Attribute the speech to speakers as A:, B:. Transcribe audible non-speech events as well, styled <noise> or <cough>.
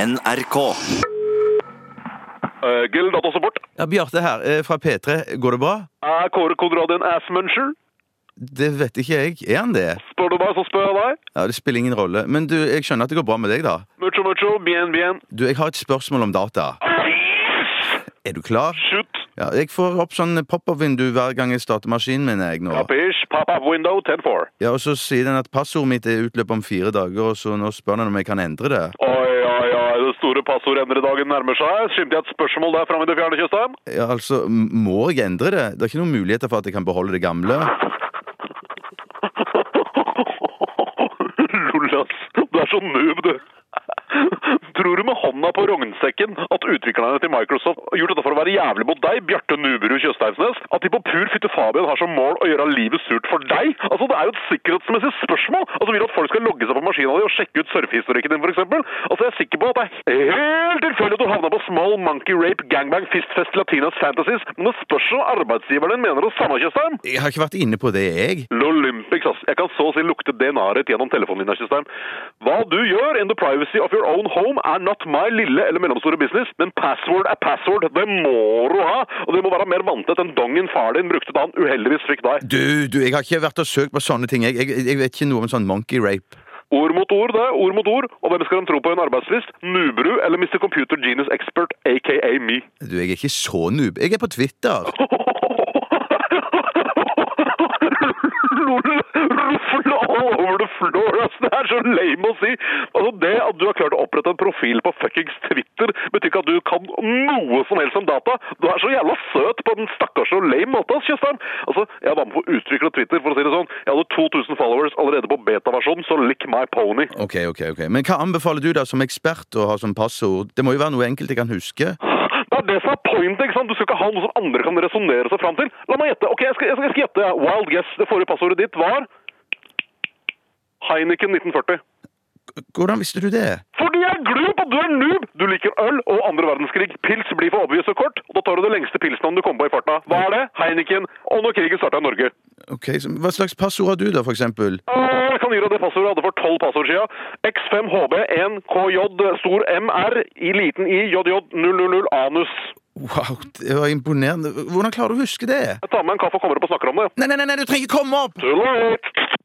A: NRK.
B: Eh, Gild, data support.
C: Ja, Bjarte her, eh, fra P3. Går det bra?
B: Er Eh, Kåre Konrad en assmuncher?
C: Det vet ikke jeg. Er han det?
B: Spør du meg, så spør jeg deg.
C: Ja, Det spiller ingen rolle. Men du, jeg skjønner at det går bra med deg, da.
B: Mucho, mucho, bien, bien.
C: Du, Jeg har et spørsmål om data. Er du klar?
B: Shoot.
C: Ja, Jeg får opp sånn pop-up-vindu hver gang jeg starter maskinen min. jeg nå.
B: Capish, pop up window, 10-4.
C: Ja, og Så sier den at passordet mitt er utløp om fire dager, og så nå spør den om jeg kan endre det.
B: Oi, oi, oi, det store passordendredagen nærmer seg. Skimte jeg et spørsmål der framme i det fjerne kystet?
C: Ja, altså, m- Må jeg endre det? Det er ikke noen muligheter for at jeg kan beholde det gamle?
B: <laughs> Lol, ass. Du er så noob, du. Tror du med hånda på rognsekken at utviklerne til Microsoft har gjort dette for å være jævlig mot deg, Bjarte Nuberud Tjøstheinsnes? At de på pur fytte Fabian har som mål å gjøre livet surt for deg? Altså, Det er jo et sikkerhetsmessig spørsmål! Altså, Vil du at folk skal logge seg på maskina di og sjekke ut surfehistorikken din, f.eks.? Altså, jeg er sikker på at det er helt tilfeldig at du havna på Small Monkey Rape Gangbang Fistfest Latinas Fantasies, men det spørs om arbeidsgiveren din mener det samme, Tjøstheim.
C: Jeg har ikke vært inne på det, jeg.
B: Lolympics, ass. Jeg kan så å si lukte DNA-et ditt gjennom telefonlinja, Tjøstheim. Hva du gjør in the privacy of your own home er not my lille eller mellomstore business, men password er password. Det må du ha! Og det må være mer vanntett enn dongen far din brukte da han uheldigvis fikk deg.
C: Du, du, jeg har ikke vært og søkt på sånne ting. Jeg, jeg, jeg vet ikke noe om sånn monkey rape.
B: Ord mot ord, det. Ord mot ord. Og hvem skal de tro på i en arbeidstvist? Nubru eller Mr. Computer Genius Expert, aka me?
C: Du, jeg er ikke så noob. Jeg er på Twitter.
B: Lol, ruffle all over the floor, ass. Det er så lame å si. Altså, det at du har klart å opprette en profil på fuckings Twitter, betyr ikke at du kan noe som helst om data. Du er så jævla søt på den stakkars og lame måten, ass, Tjøstheim. Altså, jeg var med på å utvikle Twitter, for å si det sånn. Jeg hadde 2000 followers allerede på beta-versjonen, så lick my pony.
C: Ok, ok, ok. Men hva anbefaler du da som ekspert å ha som passord? Det må jo være noe enkelt jeg kan huske.
B: Det er det som er pointet, ikke sant? Du skal ikke ha noe som andre kan resonnere seg fram til. La meg gjette. Ok, jeg skal, jeg skal, jeg skal gjette. ja. Wild guess. Det forrige passordet ditt var Heineken 1940.
C: Hvordan visste du det?
B: Fordi jeg er glup, og du er noob! Du liker øl og andre verdenskrig. Pils blir for overbevist og kort, og da tar du det lengste pilsnavnet du kommer på i farta. Hva er det? Heineken. Og når krigen starta i Norge.
C: Ok, så Hva slags passord har du, da, for eksempel?
B: Åh, Jeg kan gi deg det passordet jeg hadde for 12 passord siden. X5HB1KJ stor MR i liten i JJ000 anus.
C: Wow, det var imponerende. Hvordan klarer du å huske det?
B: Jeg tar med en kaffe og kommer opp og snakker om det.
C: Nei, nei, nei, nei, du trenger ikke komme opp!
B: Too late!